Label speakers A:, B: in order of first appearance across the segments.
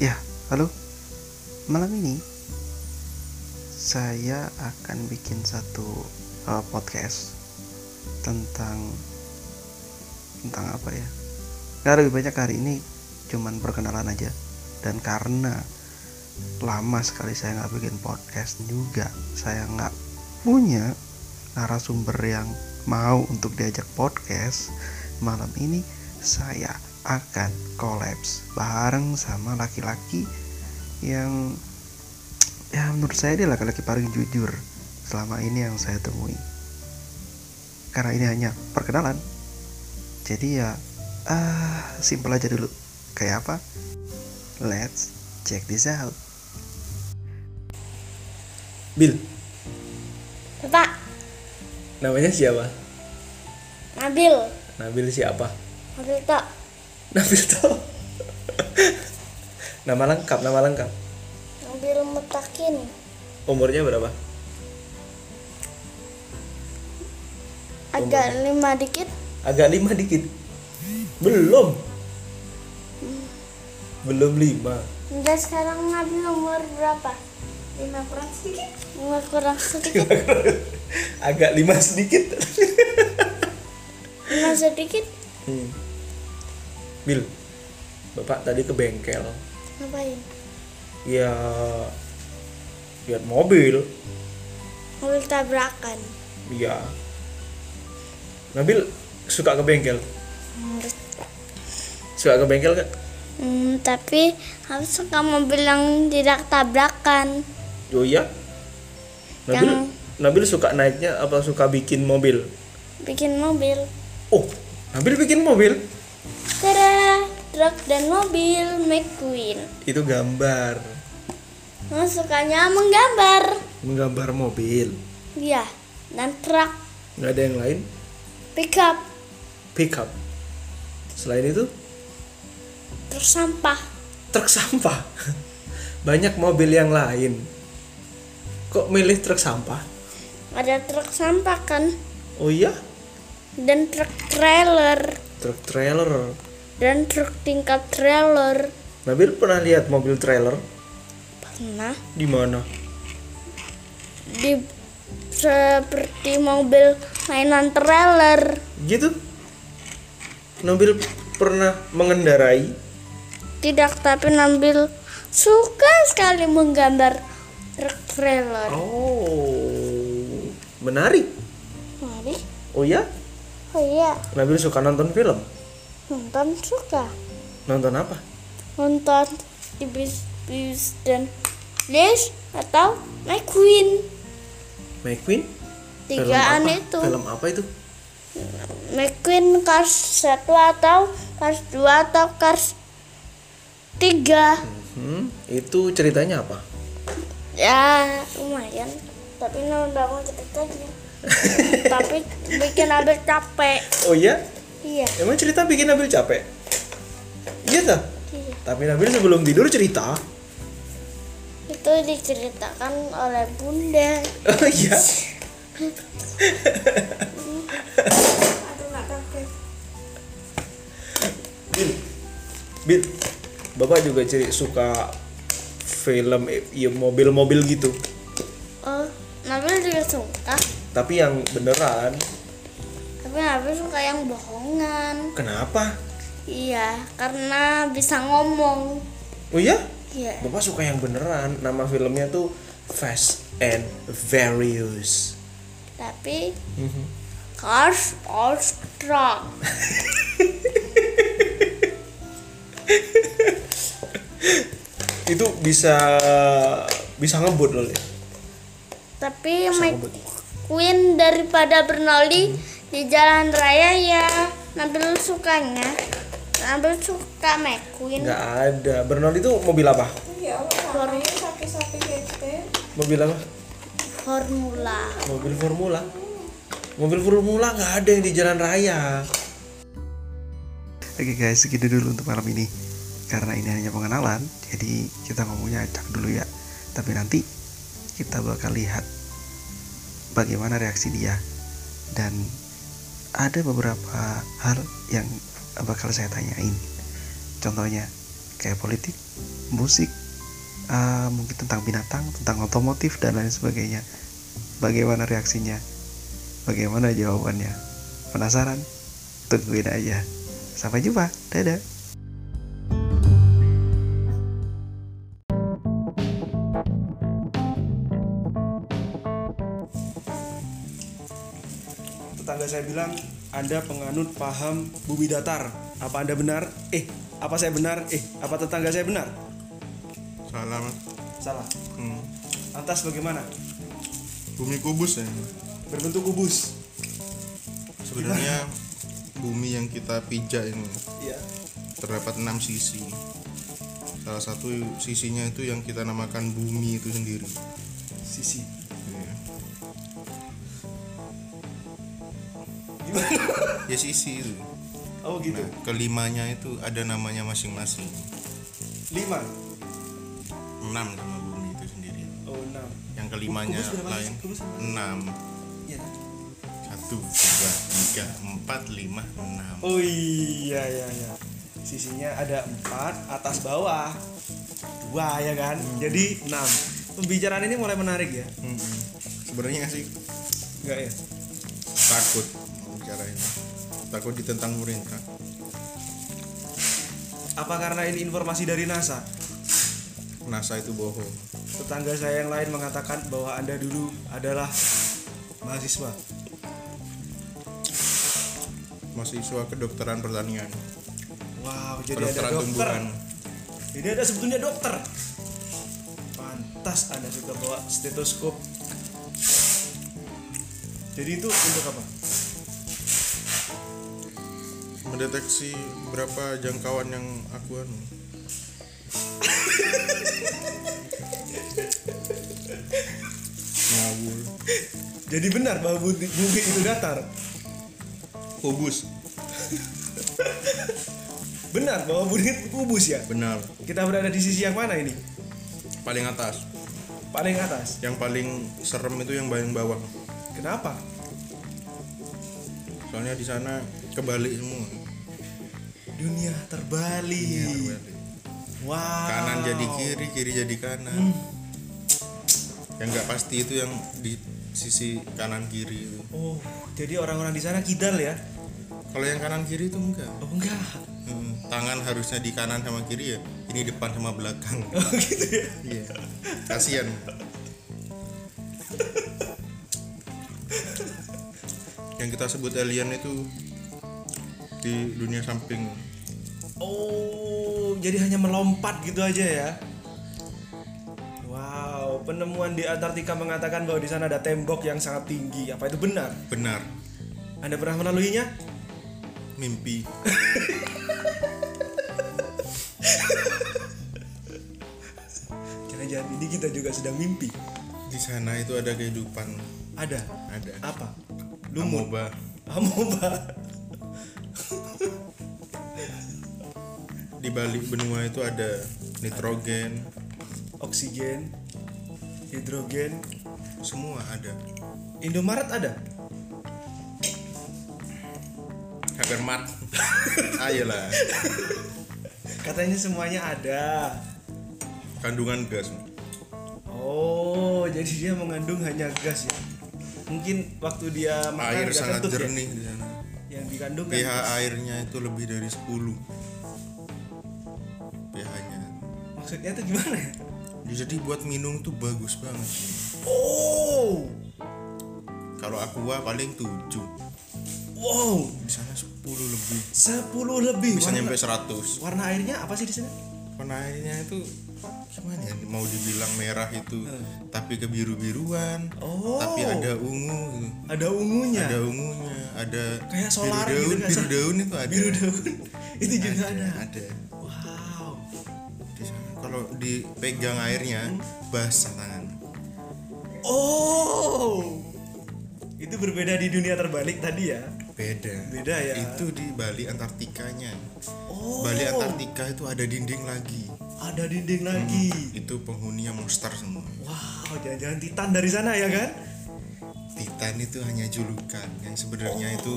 A: Ya, halo. Malam ini saya akan bikin satu eh, podcast tentang tentang apa ya? Nah, lebih banyak hari ini cuman perkenalan aja. Dan karena lama sekali saya nggak bikin podcast juga, saya nggak punya narasumber yang mau untuk diajak podcast malam ini saya akan kolaps bareng sama laki-laki yang ya menurut saya dia laki-laki paling jujur selama ini yang saya temui karena ini hanya perkenalan jadi ya ah simpel aja dulu kayak apa let's check this out
B: Bil,
C: Bapak,
B: namanya siapa?
C: Nabil,
B: Nabil siapa?
C: Nabil Tok,
B: Nabil toh. nama lengkap, nama lengkap.
C: Nabil Mutakin,
B: Umurnya berapa?
C: agak lima dikit,
B: Agak lima dikit. Belum. Belum lima.
C: udah sekarang Nabil umur berapa? Lima kurang sedikit Lima kurang sedikit,
B: Agak lima sedikit.
C: lima sedikit
B: Hmm. Bil, bapak tadi ke bengkel.
C: Ngapain?
B: Ya, lihat mobil.
C: Mobil tabrakan
B: Iya. Nabil suka ke bengkel. Suka ke bengkel kan?
C: hmm, Tapi harus suka mobil yang tidak tabrakan
B: Oh iya? Nabil,
C: Yang-
B: Nabil suka naiknya apa suka bikin mobil?
C: Bikin mobil
B: Oh, Nabil bikin mobil?
C: Kera, truk dan mobil McQueen
B: Itu gambar,
C: Oh, Sukanya menggambar
B: menggambar mobil.
C: Iya, dan truk,
B: Nggak ada yang lain?
C: pickup,
B: Pickup. Selain itu,
C: truk sampah
B: truk sampah. Banyak mobil yang lain. Kok milih truk sampah?
C: ada truk sampah kan
B: Oh iya,
C: dan truk trailer
B: truk trailer.
C: dan truk tingkap trailer
B: Nabil pernah lihat mobil trailer
C: pernah
B: di mana?
C: di seperti mobil mainan trailer
B: Gitu. Nabil pernah mengendarai
C: tidak tapi nampil suka sekali menggambar truk trailer
B: Oh, menarik.
C: Mari.
B: Oh ya,
C: oh iya
B: Nabil suka nonton film.
C: nonton suka
B: Nonton apa?
C: nonton di bis bis dan Dash atau McQueen
B: McQueen?
C: tigaan
B: apa?
C: itu
B: Film apa itu?
C: McQueen Cars 1 atau Cars 2 atau Cars 3
B: Hmm, itu ceritanya apa?
C: ya lumayan tapi nambah bangun ceritanya tapi bikin abis capek
B: Oh iya,
C: iya
B: emang cerita bikin Nabil capek? Iya tak?
C: iya
B: Tapi Nabil sebelum tidur cerita.
C: itu diceritakan oleh bunda
B: Oh iya. Bil, Bil, bapak juga ciri suka film eh, iya, mobil-mobil gitu.
C: oh Nabil juga suka
B: Tapi yang beneran,
C: tapi Nabil suka yang bohongan
B: kenapa?
C: iya karena bisa ngomong
B: Oh iya?
C: iya
B: Bapak suka yang beneran. Nama filmnya tuh Fast and Various.
C: tapi
B: Mhm.
C: Cars all strong
B: Itu bisa bisa ngebut loh. Lin.
C: Tapi
B: Bisa Hmm.
C: Mike
B: ngebut.
C: Queen daripada Bernoulli di jalan raya ya Nabil sukanya Nabil suka McQueen
B: Nggak ada. Bernold itu mobil apa?
D: Ya Allah, namanya sapi-sapi kecil.
B: Mobil apa?
C: Formula
B: Mobil formula. Mobil formula nggak ada yang di jalan raya.
A: Oke guys, segitu dulu untuk malam ini. Karena ini hanya pengenalan, jadi kita ngomongnya acak dulu ya. Tapi nanti kita bakal lihat bagaimana reaksi dia. Dan ada beberapa hal yang bakal saya tanyain. Contohnya, kayak politik, musik, eh, mungkin tentang binatang, tentang otomotif dan lain sebagainya. Bagaimana reaksinya? Bagaimana jawabannya? Penasaran? Tungguin aja. Sampai jumpa. Dadah.
B: Tetangga saya bilang, Anda penganut paham bumi datar. Apa Anda benar? Eh, apa saya benar? Eh, apa tetangga saya benar?
E: Salam.
B: Salah.
E: Hmm.
B: Lantas bagaimana?
E: Bumi kubus ya.
B: Berbentuk kubus.
E: Sebenarnya bumi yang kita pijak ini
B: Iya.
E: terdapat enam sisi. Salah satu sisinya itu yang kita namakan bumi itu sendiri.
B: Sisi.
E: Ya,
B: Gimana?
E: ya sisi itu.
B: Oh gitu.
E: Nah, kelimanya itu ada namanya masing-masing.
B: Lima.
E: Enam sama bumi itu sendiri.
B: Oh enam.
E: Yang kelimanya
B: Kubus berapa
E: lain
B: sih? Kubus berapa?
E: enam.
B: Iya.
E: Satu, dua, tiga, empat, lima, enam.
B: Oh iya iya iya. Sisinya ada empat atas bawah. Dua ya kan. Jadi enam. Pembicaraan ini mulai menarik ya.
E: Hmm. Sebenarnya sih
B: Enggak ya?
E: takut bicara ini. Takut ditentang pemerintah.
B: Apa karena ini informasi dari NASA?
E: NASA itu bohong.
B: Tetangga saya yang lain mengatakan bahwa Anda dulu adalah mahasiswa.
E: mahasiswa kedokteran pertanian
B: Wow, jadi ada
E: kedokteran
B: dokter.
E: tumbuhan
B: Jadi ada sebetulnya dokter. Pantas Anda suka bawa stetoskop. Jadi itu untuk apa?
E: mendeteksi berapa jangkauan yang aku anu ngawur
B: Jadi benar bahwa bumi, bumi itu datar.
E: kubus
B: Benar bahwa bumi itu kubus ya.
E: benar
B: Kita berada di sisi yang mana ini?
E: paling atas
B: Paling atas.
E: yang paling serem itu yang paling bawah
B: Kenapa?
E: soalnya di sana kebalik semua
B: Dunia terbalik.
E: Kebalik.
B: Wow.
E: kanan jadi kiri kiri jadi kanan
B: Hmm.
E: yang nggak pasti itu yang di sisi kanan kiri itu
B: Oh, jadi orang-orang di sana kidal ya?
E: kalau yang kanan kiri itu enggak
B: Oh enggak.
E: Hmm, tangan harusnya di kanan sama kiri ya ini depan sama belakang
B: Oh gitu ya.
E: iya kasian yang kita sebut alien itu di dunia samping
B: Oh, jadi hanya melompat gitu aja ya? Wow, penemuan di Antartika mengatakan bahwa di sana ada tembok yang sangat tinggi. Apa itu benar?
E: benar
B: Anda pernah melaluinya?
E: mimpi
B: Jangan-jangan ini kita juga sedang mimpi.
E: di sana itu ada kehidupan
B: Ada.
E: ada
B: Apa? Lumut.
E: amoeba
B: Amoeba.
E: di balik benua itu ada nitrogen
B: Oksigen. Hidrogen.
E: semua ada
B: Indomaret ada?
E: habermat ayolah
B: Katanya semuanya ada.
E: kandungan gas
B: Oh, jadi dia mengandung hanya gas ya. Mungkin waktu dia makan
E: air
B: nggak
E: sangat
B: kentut ya?
E: jernih di sana
B: Yang dikandung kan
E: pH
B: gas.
E: airnya itu lebih dari 10 pH-nya
B: Maksudnya tuh gimana ya?
E: jadi buat minum tuh bagus banget
B: Oh,
E: kalau aqua paling 7
B: wow,
E: di sana 10 lebih
B: 10 lebih.
E: bisa
B: warna,
E: nyampe 100
B: warna airnya apa sih di sana?
E: warna airnya itu gimana ya mau dibilang merah itu tapi kebiru-biruan
B: Eh. Oh.
E: tapi ada ungu gitu.
B: Ada ungunya.
E: ada ungunya ada
B: Kayak solar gitu
E: biru daun biru daun
B: nggak sih?
E: itu ada
B: Biru daun. Itu juga ada.
E: ada, ada.
B: Wow.
E: Di sana kalau dipegang airnya basah tangan
B: Oh. Itu berbeda di dunia terbalik tadi ya.
E: beda
B: Beda ya.
E: itu di Bali Antartikanya
B: Oh.
E: Bali Antartika itu ada dinding lagi
B: Ada dinding lagi.
E: itu penghuninya monster semua
B: Wow, jangan-jangan Titan dari sana ya kan?
E: Titan itu hanya julukan yang sebenarnya
B: Oh.
E: itu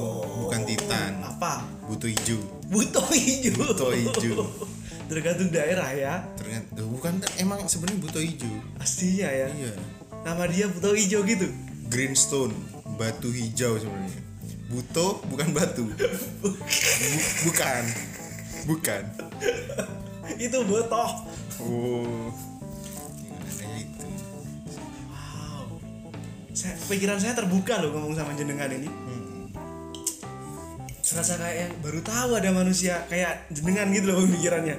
E: bukan Titan
B: Apa?
E: butuh hijau
B: Buto hijau.
E: Buto hijau.
B: tergantung daerah ya
E: ternyata Duh, bukan emang sebenarnya buto hijau
B: pastinya ya
E: iya
B: nama dia buto hijau gitu
E: greenstone batu hijau sebenarnya buto bukan batu Bu- bukan bukan
B: itu botoh
E: oh gimana itu
B: wow saya, pikiran saya terbuka loh ngomong sama jenengan ini
E: Hmm.
B: serasa kayak yang baru tahu ada manusia kayak jenengan gitu loh pikirannya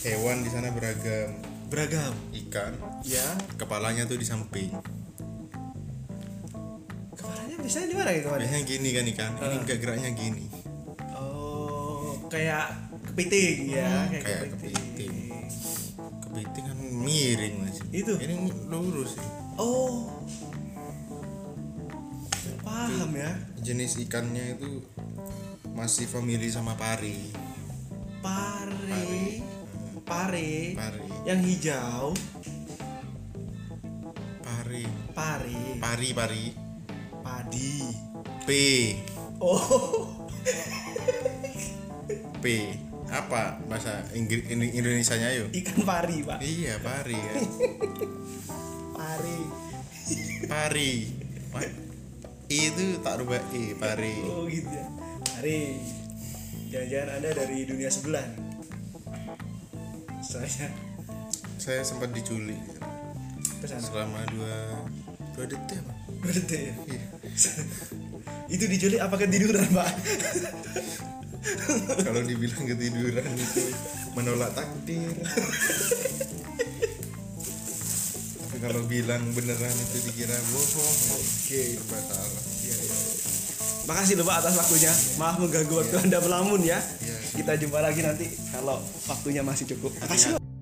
E: hewan di sana beragam
B: beragam
E: ikan
B: ya
E: kepalanya tuh di samping
B: kemarinnya biasanya di mana gitu Mas?
E: biasanya gini kan ikan
B: Ah.
E: ini enggak geraknya gini
B: oh kayak kepiting ya kayak,
E: Hmm, kayak kepiting. kepiting kan miring mas
B: Itu.
E: ini lurus sih.
B: oh paham ya
E: jenis ikannya itu masih family sama pari
B: pare pare
E: pari
B: yang hijau
E: pari
B: pare
E: pari pari
B: padi
E: p
B: oh
E: p apa bahasa Inggris Indonesia nya yuk
B: ikan pari pak
E: iya pari ya
B: pari
E: pari Wah, i itu tak rubah i pari
B: oh gitu ya pari jangan-jangan anda dari dunia sebelah nih. soalnya
E: saya sempat diculik
B: pesan
E: selama dua dua detik apa?
B: berarti ya
E: Iya.
B: itu diculik apa ketiduran pak
E: kalau dibilang ketiduran itu menolak takdir tapi kalau bilang beneran itu dikira bohong oke serba salah
B: Makasih loh Pak atas waktunya. Maaf Iya. mengganggu waktu Anda melamun ya.
E: Iya.
B: Kita jumpa lagi nanti kalau waktunya masih cukup. Iya. Makasih. Pak.